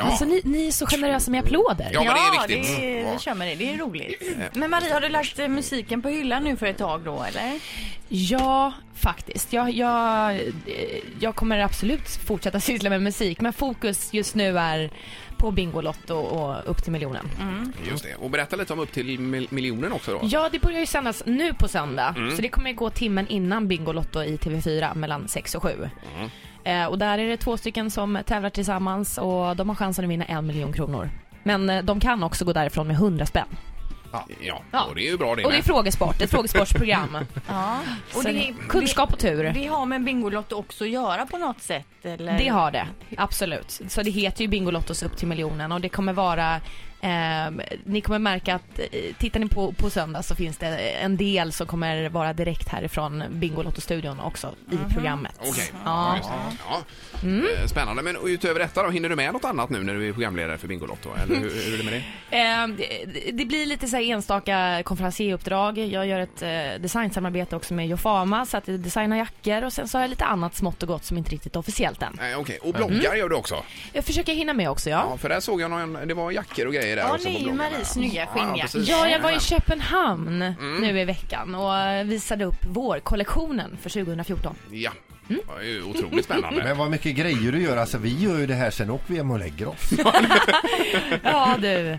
Alltså, ni, ni är så generösa med applåder. Ja, men det är viktigt. Mm. det, är- Ja. det kör man det. Det är roligt. Men Marie, har du lagt eh, musiken på hyllan nu för ett tag då, eller? Ja, faktiskt. Jag, jag, eh, jag kommer absolut fortsätta syssla med musik, men fokus just nu är på Bingolotto och Upp till miljonen. Just det. Och berätta lite om Upp till mil- miljonen också då. Ja, det börjar ju sändas nu på söndag, så det kommer ju gå timmen innan Bingolotto i TV4 mellan 6 och 7. Eh, och där är det två stycken som tävlar tillsammans och de har chansen att vinna en miljon kronor. Men eh, de kan också gå därifrån med 100 spänn. Ja, Ja. och det är ju bra det Och det är med. frågesport, ett frågesportsprogram. Ja. Och Så det, kunskap och tur. det, det har med Bingolotto också att göra på något sätt, eller? Det har det, absolut. Så det heter ju Bingolottos upp till miljonen och det kommer vara ehm, ni kommer märka att eh, tittar ni på, på söndag så finns det en del som kommer vara direkt härifrån Bingolotto-studion också i programmet. Okej. Ja. Ja. just det. Ja. Eh, Spännande. Men utöver detta då, hinner du med något annat nu när du är programledare för Bingolotto? Eller hur, hur är det med det? Ehm, det- det blir lite så här enstaka konferencieruppdrag. Jag gör ett eh, designsamarbete också med Jofama så att jag designar jackor och sen så har jag lite annat smått och gott som inte riktigt är officiellt än. Nej, okej. Och bloggar gör du också? Jag försöker hinna med också Ja, för där såg jag någon, det var jackor och grejer där Ja, också det är på ju bloggen Maries där. snygga skinnjacka. precis. Ja, jag var i Köpenhamn Mm. nu i veckan och visade upp vår kollektionen för 2014. Ja, Mm. det var ju otroligt spännande. Men vad mycket grejer du gör. Alltså vi gör ju det här, sen åker vi hem och lägger oss. Ja, du.